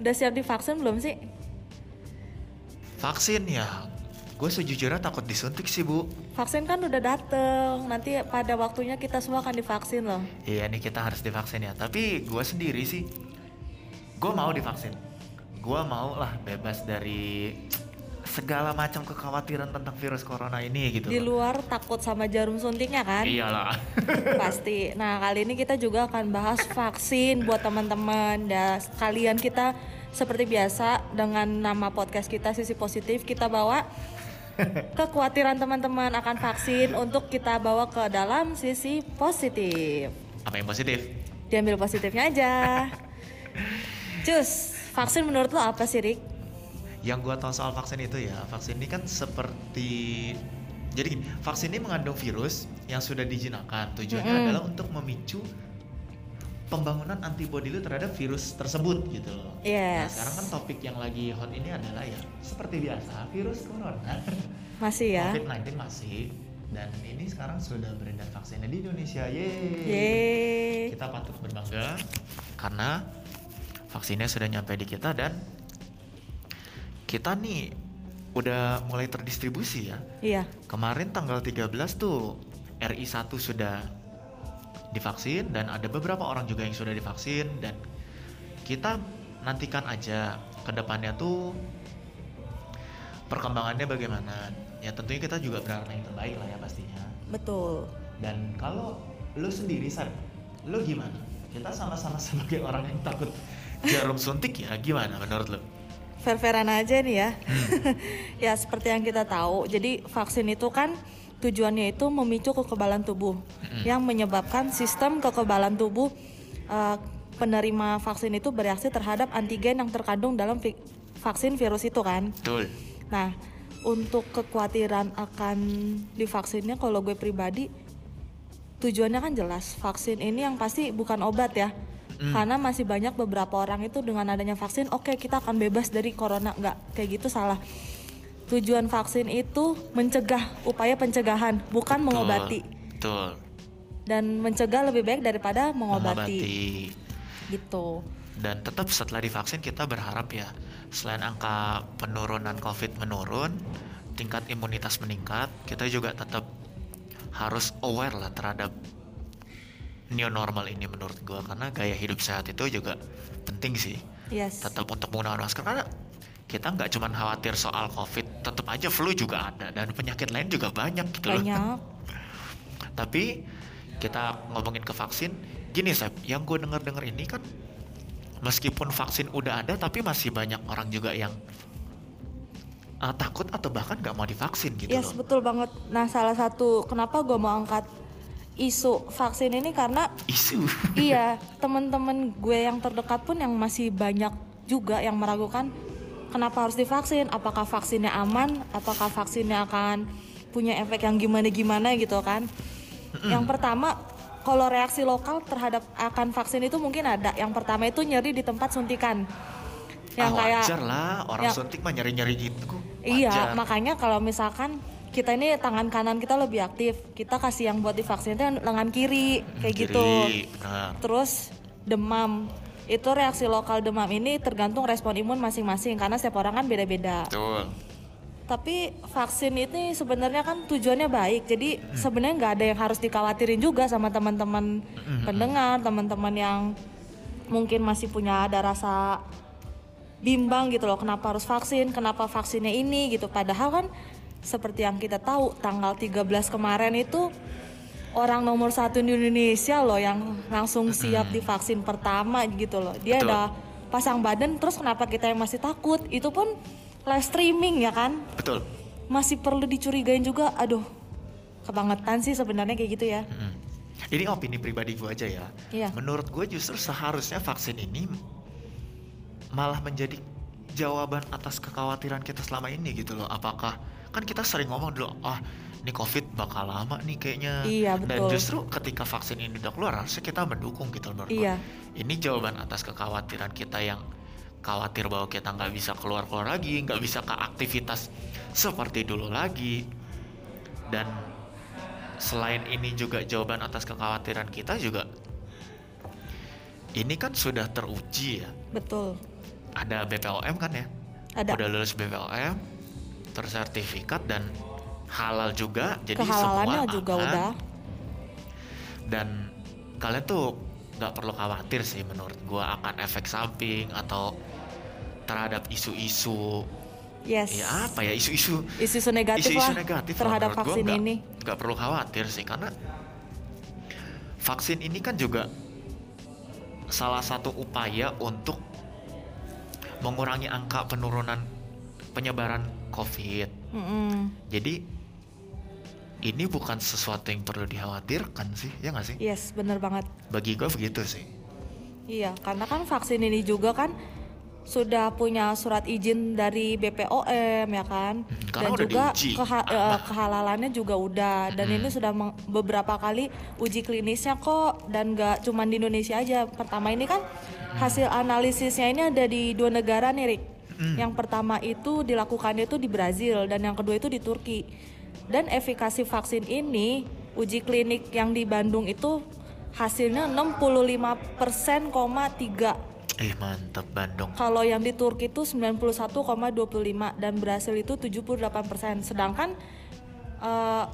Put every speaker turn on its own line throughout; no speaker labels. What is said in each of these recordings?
udah siap divaksin belum sih?
Vaksin ya, gue sejujurnya takut disuntik sih bu.
Vaksin kan udah dateng, nanti pada waktunya kita semua akan divaksin loh.
Iya nih kita harus divaksin ya, tapi gue sendiri sih, gue mau divaksin. Gue mau lah bebas dari segala macam kekhawatiran tentang virus corona ini gitu.
Di luar takut sama jarum suntiknya kan?
Iyalah.
Pasti. Nah, kali ini kita juga akan bahas vaksin buat teman-teman. Dan kalian kita seperti biasa dengan nama podcast kita Sisi Positif kita bawa kekhawatiran teman-teman akan vaksin untuk kita bawa ke dalam sisi positif.
Apa yang positif?
Diambil positifnya aja. Cus, vaksin menurut lo apa sih, Rik?
Yang gue tahu soal vaksin itu ya, vaksin ini kan seperti jadi gini, vaksin ini mengandung virus yang sudah dijinakan. Tujuannya
Mm-mm.
adalah untuk memicu pembangunan antibodi lu terhadap virus tersebut gitu loh. Nah,
Yes.
sekarang kan topik yang lagi hot ini adalah ya seperti biasa virus corona.
Masih ya.
COVID-19 masih dan ini sekarang sudah beredar vaksinnya di Indonesia. Yeay.
Yeay.
Kita patut berbangga karena vaksinnya sudah nyampe di kita dan kita nih udah mulai terdistribusi ya.
Iya.
Kemarin tanggal 13 tuh RI 1 sudah divaksin dan ada beberapa orang juga yang sudah divaksin dan kita nantikan aja ke depannya tuh perkembangannya bagaimana. Ya tentunya kita juga berharap yang terbaik lah ya pastinya.
Betul.
Dan kalau lu sendiri San, lu gimana? Kita sama-sama sebagai orang yang takut jarum suntik ya gimana menurut lu?
Kan fair-fairan aja nih ya.
Hmm.
ya seperti yang kita tahu, jadi vaksin itu kan tujuannya itu memicu kekebalan tubuh
Hmm.
yang menyebabkan sistem kekebalan tubuh eh, penerima vaksin itu bereaksi terhadap antigen yang terkandung dalam vi- vaksin virus itu kan.
Betul.
Nah, untuk kekhawatiran akan divaksinnya kalau gue pribadi tujuannya kan jelas. Vaksin ini yang pasti bukan obat ya.
Mm.
Karena masih banyak beberapa orang itu dengan adanya vaksin, oke kita akan bebas dari corona nggak kayak gitu salah. Tujuan vaksin itu mencegah upaya pencegahan, bukan mengobati
Betul.
dan mencegah lebih baik daripada mengobati,
Mengobati.
gitu.
Dan tetap setelah divaksin kita berharap ya selain angka penurunan COVID menurun, tingkat imunitas meningkat, kita juga tetap harus aware lah terhadap new normal ini menurut gua karena gaya hidup sehat itu juga penting sih
Yes.
tetap untuk menggunakan masker karena kita nggak cuma khawatir soal covid tetap aja flu juga ada dan penyakit lain juga banyak gitu loh.
Banyak.
Tapi kita ngomongin ke vaksin, gini Sep, yang gue denger-denger ini kan meskipun vaksin udah ada tapi masih banyak orang juga yang uh, takut atau bahkan nggak mau divaksin gitu
Yes,
loh.
betul banget. Nah, salah satu kenapa gue mau angkat isu vaksin ini karena
Isu.
iya, temen-temen gue yang terdekat pun yang masih banyak juga yang meragukan kenapa harus divaksin, apakah vaksinnya aman, apakah vaksinnya akan punya efek yang gimana-gimana gitu kan. Yang pertama, kalau reaksi lokal terhadap akan vaksin itu mungkin ada. Yang pertama itu nyeri di tempat suntikan. Yang
Ah,
kayak
wajar lah, orang
yang-
suntik mah nyari-nyari gitu.
Iya,
Wajar.
makanya kalau misalkan kita ini tangan kanan kita lebih aktif, kita kasih yang buat divaksin itu yang lengan kiri kayak
Kiri,
gitu.
benar.
Terus demam. Itu reaksi lokal demam ini tergantung respon imun masing-masing karena setiap orang kan beda-beda.
Betul.
Tapi vaksin ini sebenarnya kan tujuannya baik. Jadi sebenarnya nggak ada yang harus dikhawatirin juga sama teman-teman pendengar, teman-teman yang mungkin masih punya ada rasa bimbang gitu loh kenapa harus vaksin, kenapa vaksinnya ini gitu. Padahal kan seperti yang kita tahu tanggal 13 kemarin itu orang nomor satu di Indonesia loh yang langsung siap divaksin pertama gitu loh. Dia
Betul.
ada pasang badan terus kenapa kita yang masih takut itu pun live streaming ya kan
Betul.
masih perlu dicurigain juga aduh kebangetan sih sebenarnya kayak gitu ya
Mm. Ini opini pribadi gue aja ya.
Iya.
Menurut gue justru seharusnya vaksin ini malah menjadi jawaban atas kekhawatiran kita selama ini gitu loh. Apakah kan kita sering ngomong dulu ah ini covid bakal lama nih kayaknya.
Iya,
Dan
betul.
justru ketika vaksin ini udah keluar harusnya kita mendukung gitu loh menurut gue.
Iya.
Ini jawaban atas kekhawatiran kita yang khawatir bahwa kita nggak bisa keluar keluar lagi, nggak bisa ke aktivitas seperti dulu lagi. Dan selain ini juga jawaban atas kekhawatiran kita juga ini kan sudah teruji ya
betul
ada BPOM kan ya?
Ada.
Udah lulus BPOM, tersertifikat dan halal juga. Jadi
Kehalalannya
semua
juga
aman.
udah.
Dan kalian tuh nggak perlu khawatir sih menurut gua akan efek samping atau terhadap isu-isu
Yes.
ya apa ya isu-isu
Isu-isu negatif
isu-isu
lah
negatif lah
terhadap
menurut gua
vaksin
nggak-
ini.
nggak perlu khawatir sih karena vaksin ini kan juga salah satu upaya untuk mengurangi angka penurunan penyebaran COVID.
Mm-mm.
Jadi ini bukan sesuatu yang perlu dikhawatirkan sih, ya nggak sih?
Yes, bener banget.
Bagi gue begitu sih.
Iya, karena kan vaksin ini juga kan sudah punya surat izin dari BPOM ya kan,
Hmm, karena
dan
udah
juga
diuji.
keha- eh,
Abah.
kehalalannya juga udah, dan ini sudah meng- beberapa kali uji klinisnya kok, dan nggak cuma di Indonesia aja. Pertama ini kan hasil analisisnya ini ada di dua negara nih, Rick. Yang pertama itu dilakukannya itu di Brazil dan yang kedua itu di Turki. Dan efikasi vaksin ini uji klinik yang di Bandung itu hasilnya 65,3
Eh mantep Bandung.
kalau yang di Turki itu 91,25 dan Brasil itu 78%. Sedangkan eh,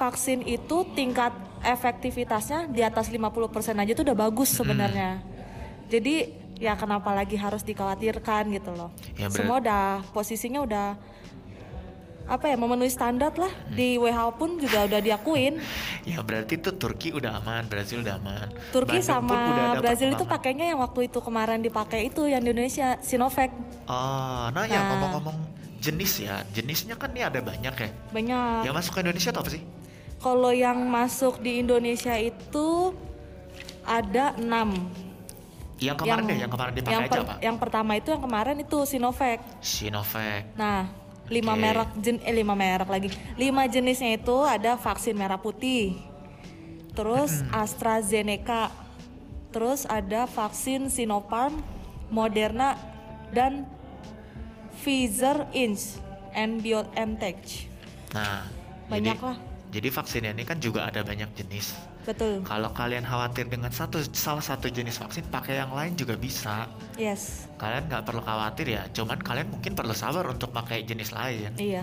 vaksin itu tingkat efektivitasnya di atas 50% aja itu udah bagus
Hmm.
sebenarnya. Jadi ya kenapa lagi harus dikhawatirkan gitu loh.
Ya, bener.
Semua udah posisinya udah apa ya memenuhi standar lah
Hmm.
di WHO pun juga udah diakuin.
Ya berarti tuh Turki udah aman, Brazil udah aman.
Turki
Bandung pun udah
sama
dapat
Brasil itu
aman.
pakainya yang waktu itu kemarin dipakai itu yang di Indonesia Sinovac
Ah, nah,
kan-
ya
Nah.
ngomong-ngomong jenis ya, jenisnya kan nih ada banyak ya.
banyak.
Yang masuk ke Indonesia tuh apa sih?
Kalau yang masuk di Indonesia itu ada enam.
Yang kemarin deh, yang kemarin dipakai
yang
aja
per-
pak.
Yang pertama itu yang kemarin itu Sinovac.
Sinovac.
Nah, lima
Oke.
merek jen, eh lima merek lagi. Lima jenisnya itu ada vaksin merah putih. Terus AstraZeneca. Terus ada vaksin Sinopharm, Moderna dan Pfizer Inc and BioNTech.
Nah,
Banyak
jadi,
lah.
Jadi vaksinnya ini kan juga ada banyak jenis.
Betul.
Kalau kalian khawatir dengan satu salah satu jenis vaksin, pakai yang lain juga bisa.
Yes.
Kalian nggak perlu khawatir ya. Cuman kalian mungkin perlu sabar untuk pakai jenis lain.
Iya.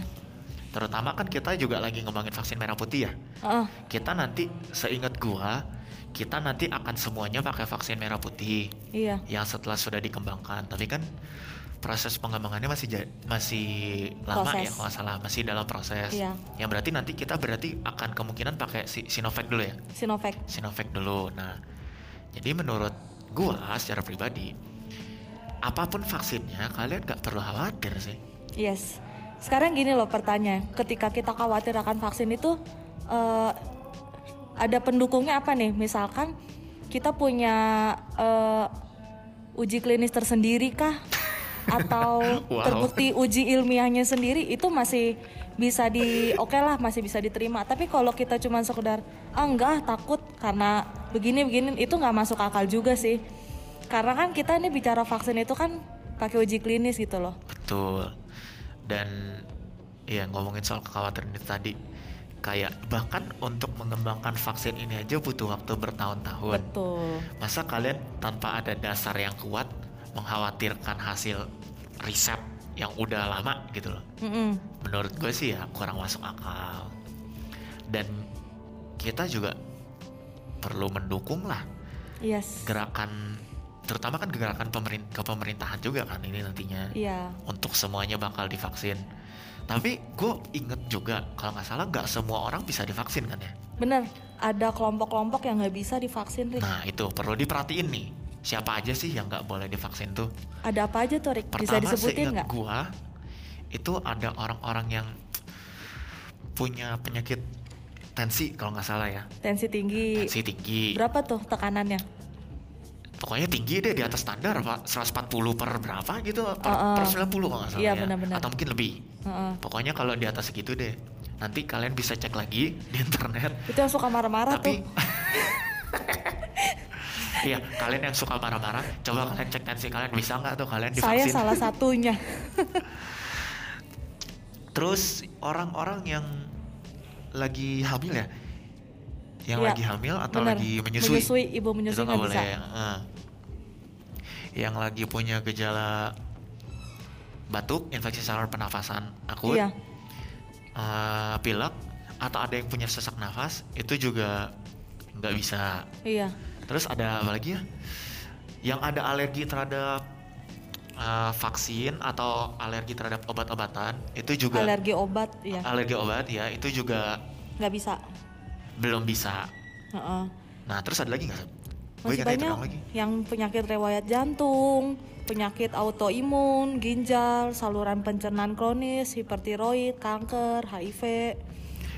Terutama kan kita juga lagi ngembangin vaksin merah putih ya.
Heeh.
Kita nanti seingat gua, kita nanti akan semuanya pakai vaksin merah putih.
iya.
yang setelah sudah dikembangkan tapi kan proses pengembangannya masih ja- masih lama
Proses.
ya kalau nggak salah masih dalam proses
Iya.
yang berarti nanti kita berarti akan kemungkinan pakai si Sinovac dulu ya
Sinovac.
Sinovac dulu nah jadi menurut gua secara pribadi apapun vaksinnya kalian nggak perlu khawatir sih
Yes. Sekarang gini loh pertanyaan, ketika kita khawatir akan vaksin itu eh, ada pendukungnya apa nih? Misalkan kita punya eh, uji klinis tersendiri kah? Atau
Wow.
terbukti uji ilmiahnya sendiri itu masih bisa di oke lah masih bisa diterima. Tapi kalau kita cuma sekedar ah enggak takut karena begini-begini itu nggak masuk akal juga sih. Karena kan kita ini bicara vaksin itu kan pakai uji klinis gitu loh.
betul dan ya ngomongin soal kekhawatiran itu tadi kayak bahkan untuk mengembangkan vaksin ini aja butuh waktu bertahun-tahun
Betul.
Masa kalian tanpa ada dasar yang kuat mengkhawatirkan hasil riset yang udah lama gitu loh.
Mm-mm.
Menurut gue sih ya kurang masuk akal. Dan kita juga perlu mendukung lah
Yes.
gerakan terutama kan gerakan pemerin- kepemerintahan juga kan ini nantinya
Iya.
untuk semuanya bakal divaksin. Tapi gue inget juga kalau nggak salah nggak semua orang bisa divaksin kan ya.
Bener. Ada kelompok-kelompok yang nggak bisa divaksin, Rick.
Nah itu perlu diperhatiin nih siapa aja sih yang nggak boleh divaksin tuh.
Ada apa aja tuh, Rick? Bisa
pertama
disebutin
seingat
nggak?
gua itu ada orang-orang yang punya penyakit tensi kalau nggak salah ya
Tensi tinggi.
tensi tinggi
Berapa tuh tekanannya?
pokoknya tinggi deh di atas standar pak 140 per berapa gitu per,
Heeh.
per 90 kalau nggak salah
Iya,
ya
benar-benar.
atau mungkin lebih
Heeh.
pokoknya kalau di atas segitu deh nanti kalian bisa cek lagi di internet
Itu yang suka marah-marah
tapi
tuh.
Iya, kalian yang suka marah-marah, coba kalian cek tensi kalian bisa nggak tuh kalian
Saya
divaksin.
salah satunya.
Terus orang-orang yang lagi hamil ya, yang
Iya,
lagi hamil atau
bener.
lagi menyusui,
ibu menyusui
itu nggak
nggak
boleh.
bisa.
Yang, yang lagi punya gejala batuk, infeksi saluran pernafasan akut,
Iya.
eh, pilek, atau ada yang punya sesak nafas, itu juga nggak bisa.
Iya.
Terus ada apa lagi ya? Yang ada alergi terhadap eh, vaksin atau alergi terhadap obat-obatan, itu juga
Alergi obat ya.
alergi obat ya, itu juga
nggak bisa.
belum bisa.
Heeh.
Nah, terus ada lagi nggak? Sob? Gua
Masih
ingatnya itu
banyak
doang lagi.
yang penyakit riwayat jantung, penyakit autoimun, ginjal, saluran pencernaan kronis, hipertiroid, kanker, HIV.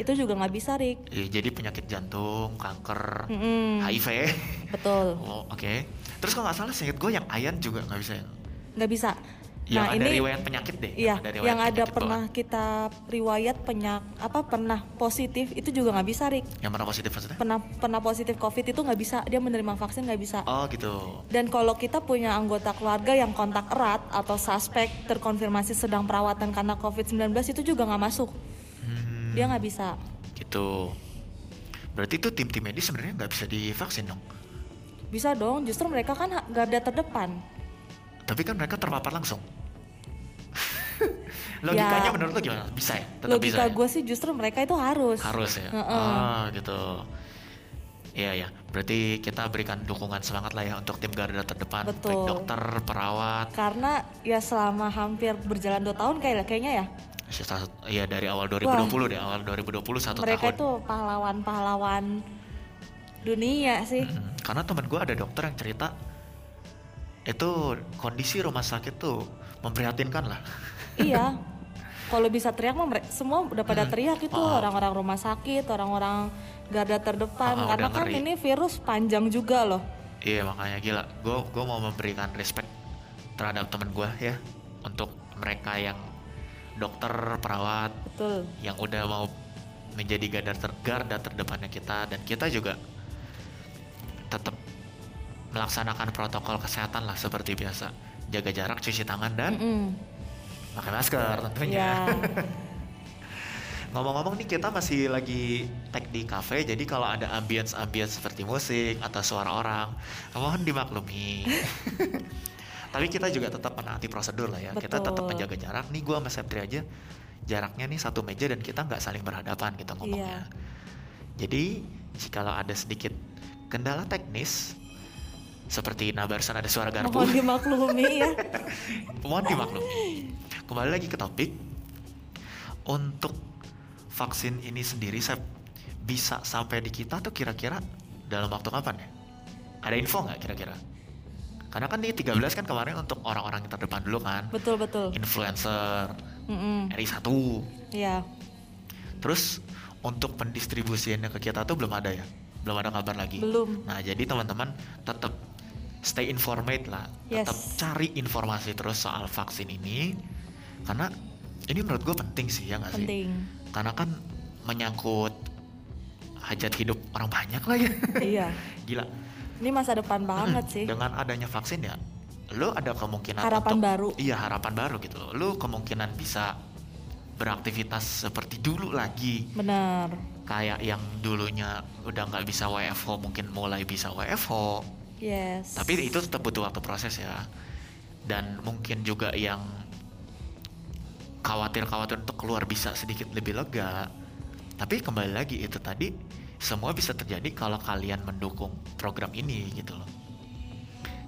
Itu juga nggak bisa, Rik.
Iya, jadi penyakit jantung, kanker,
Mm-mm.
HIV.
Betul.
Oh, oke. Terus kalau nggak salah seingat gue yang Ayan juga nggak bisa yang
Nggak bisa.
yang
nah,
ada
ini
riwayat penyakit deh.
Iya,
ada riwayat
yang ada
penyakit
pernah
doang.
kita riwayat penyak apa pernah positif itu juga nggak bisa, Rik.
Yang pernah positif maksudnya?
Pernah pernah positif COVID itu nggak bisa, dia menerima vaksin nggak bisa.
Oh gitu.
Dan kalau kita punya anggota keluarga yang kontak erat atau suspek terkonfirmasi sedang perawatan karena COVID-19 itu juga nggak masuk.
Hmm,
Dia nggak bisa.
gitu. Berarti itu tim-tim medis sebenarnya nggak bisa divaksin dong.
Bisa dong, justru mereka kan ha- garda terdepan.
Tapi kan mereka terpapar langsung. Logikanya
Ya.
menurut lo gimana? Bisa ya? Tetap bisa.
Logika
ya?
gue sih justru mereka itu harus.
harus ya
Heeh.
ah gitu Iya ya, berarti kita berikan dukungan semangat lah ya untuk tim garda terdepan, baik
Betul.
dokter, perawat,
Karena ya selama hampir berjalan dua tahun kayak- kayaknya ya,
sisa- ya dari awal 2020 deh, awal 2020 satu
mereka
tahun.
itu pahlawan-pahlawan dunia sih.
Mm, Karena temen gue ada dokter yang cerita itu kondisi rumah sakit tuh memprihatinkan lah.
iya. Kalau bisa teriak mah mere- semua udah
Hmm.
pada teriak itu orang-orang rumah sakit, orang-orang garda terdepan
Ah,
karena
udah
kan
ngeri.
ini virus panjang juga loh.
Iya makanya gila, gue gua mau memberikan respect terhadap temen gue ya untuk mereka yang dokter, perawat,
Betul.
yang udah mau menjadi garda ter- garda terdepannya kita dan kita juga tetap melaksanakan protokol kesehatan lah seperti biasa jaga jarak cuci tangan dan
Mm-mm.
pakai masker tentunya
Iya.
ngomong-ngomong nih kita masih lagi tag di cafe jadi kalau ada ambience ambience seperti musik atau suara orang mohon dimaklumi tapi kita juga tetap menaati prosedur lah ya kita tetap
Betul.
menjaga jarak nih gua sama Septri aja jaraknya nih satu meja dan kita nggak saling berhadapan
Iya.
gitu ngomongnya jadi jikalau ada sedikit kendala teknis seperti nabarsan ada suara garpu
Mohon dimaklumi ya.
Mohon dimaklumi. Kembali lagi ke topik. Untuk vaksin ini sendiri Sep, bisa sampai di kita tuh kira-kira dalam waktu kapan ya? Ada info nggak kira-kira? Karena kan di 13 kan kemarin untuk orang-orang yang terdepan dulu kan.
Betul betul.
Influencer,
Mm-mm.
RI1.
Iya.
Terus untuk pendistribusiannya ke kita tuh belum ada ya? Belum ada kabar lagi.
Belum.
Nah, jadi teman-teman tetap stay informed lah,
Yes.
tetap cari informasi terus soal vaksin ini, karena ini menurut gue penting sih ya nggak sih?
Penting.
Karena kan menyangkut hajat hidup orang banyak lah ya.
iya.
Gila.
Ini masa depan banget sih.
Dengan adanya vaksin ya, lo ada kemungkinan
Harapan
untuk-
baru.
Iya harapan baru gitu. Lo kemungkinan bisa beraktivitas seperti dulu lagi
Benar.
kayak yang dulunya udah nggak bisa WFH mungkin mulai bisa WFH
Yes.
tapi itu tetap butuh waktu proses ya dan mungkin juga yang khawatir-khawatir untuk keluar bisa sedikit lebih lega tapi kembali lagi itu tadi semua bisa terjadi kalau kalian mendukung program ini gitu loh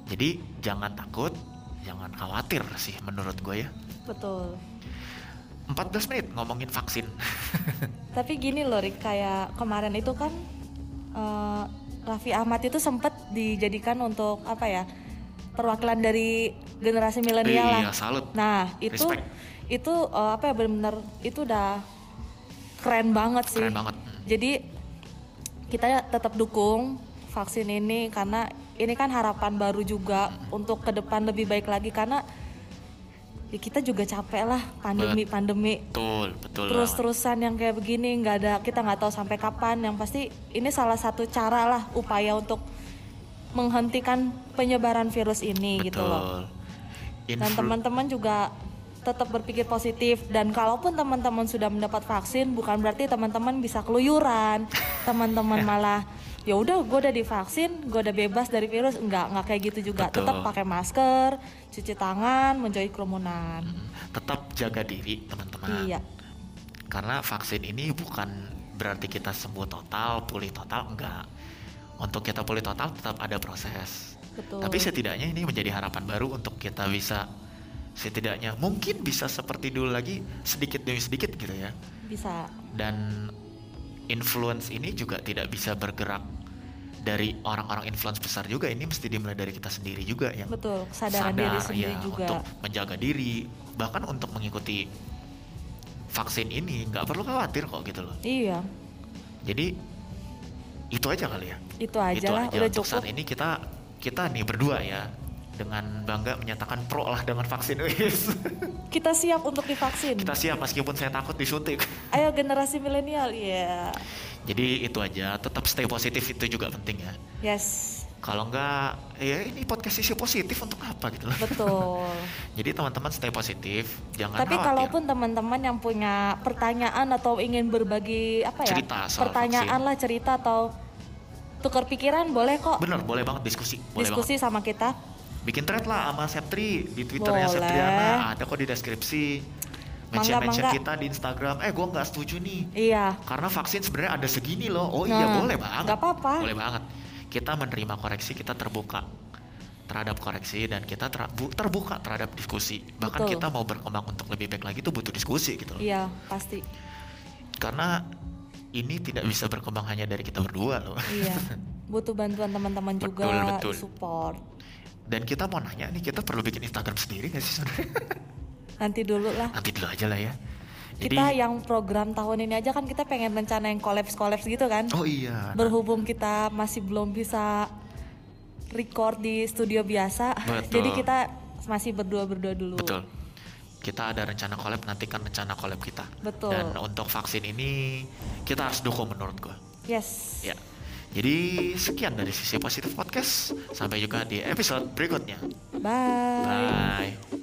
jadi jangan takut jangan khawatir sih menurut gue ya
betul.
14 menit ngomongin vaksin
Tapi gini loh Rik, kayak kemarin itu kan eh, Raffi Ahmad itu sempet dijadikan untuk apa ya perwakilan dari generasi milenial lah.
iya salut
Nah itu
Respect.
itu eh, apa ya benar-benar itu udah keren banget sih.
keren banget Hmm.
Jadi kita tetap dukung vaksin ini karena ini kan harapan baru juga untuk ke depan lebih baik lagi karena ya kita juga capek lah pandemi pandemi
betul betul
terus
banget.
terusan yang kayak begini nggak ada kita nggak tahu sampai kapan yang pasti ini salah satu cara lah upaya untuk menghentikan penyebaran virus ini gitu loh dan
Influ-
teman-teman juga tetap berpikir positif dan kalaupun teman-teman sudah mendapat vaksin bukan berarti teman-teman bisa keluyuran teman-teman malah ya udah gue udah divaksin gue udah bebas dari virus enggak enggak kayak gitu juga
Betul.
tetap pakai masker cuci tangan menjauhi kerumunan
tetap jaga diri teman-teman
iya
karena vaksin ini bukan berarti kita sembuh total pulih total enggak untuk kita pulih total tetap ada proses
betul
tapi setidaknya ini menjadi harapan baru untuk kita bisa setidaknya mungkin bisa seperti dulu lagi sedikit demi sedikit gitu ya
bisa
dan influence ini juga tidak bisa bergerak dari orang-orang influence besar juga ini mesti dimulai dari kita sendiri juga yang
betul kesadaran diri
sadar,
sendiri
ya,
juga
untuk menjaga diri bahkan untuk mengikuti vaksin ini nggak perlu khawatir kok gitu loh
iya
jadi itu aja kali ya
itu aja
itu
lah
aja
udah
untuk
cukup
saat ini kita kita nih berdua ya dengan bangga menyatakan pro lah dengan vaksin wis
kita siap untuk divaksin
kita siap meskipun saya takut disuntik
ayo generasi milenial iya
jadi itu aja tetap stay positif itu juga penting ya
yes
kalau nggak ya ini podcast isi positif untuk apa gitu loh
betul
jadi teman-teman stay positif jangan
tapi
khawatir.
kalaupun teman-teman yang punya pertanyaan atau ingin berbagi apa ya
Cerita soal
pertanyaan
vaksin.
lah cerita atau tukar pikiran boleh kok
bener boleh banget diskusi boleh banget
diskusi sama kita
bikin thread lah sama Septri di twitternya
Boleh.
Septriana ada kok di deskripsi mention mention
Mangga, mangga.
kita di Instagram eh gua nggak setuju nih
iya
karena vaksin sebenarnya ada segini loh oh iya
Nah,
boleh banget
nggak apa-apa.
boleh banget kita menerima koreksi kita terbuka terhadap koreksi dan kita ter- bu- terbuka terhadap diskusi bahkan
Betul.
kita mau berkembang untuk lebih baik lagi itu butuh diskusi gitu loh
iya pasti
karena ini tidak bisa berkembang hanya dari kita berdua loh
iya butuh bantuan teman-teman juga
Betul, betul.
support
dan kita mau nanya nih kita perlu bikin Instagram sendiri nggak sih sebenarnya
nanti dulu lah
nanti dulu aja lah ya jadi
kita yang program tahun ini aja kan kita pengen rencana yang collabs collabs gitu kan
oh iya nah,
berhubung kita masih belum bisa record di studio biasa
Betul.
jadi kita masih berdua berdua dulu
betul kita ada rencana collab nantikan rencana collab kita
Betul.
dan untuk vaksin ini kita harus dukung menurut gua
yes
ya jadi sekian dari sisi positif podcast sampai juga di episode berikutnya
bye.
bye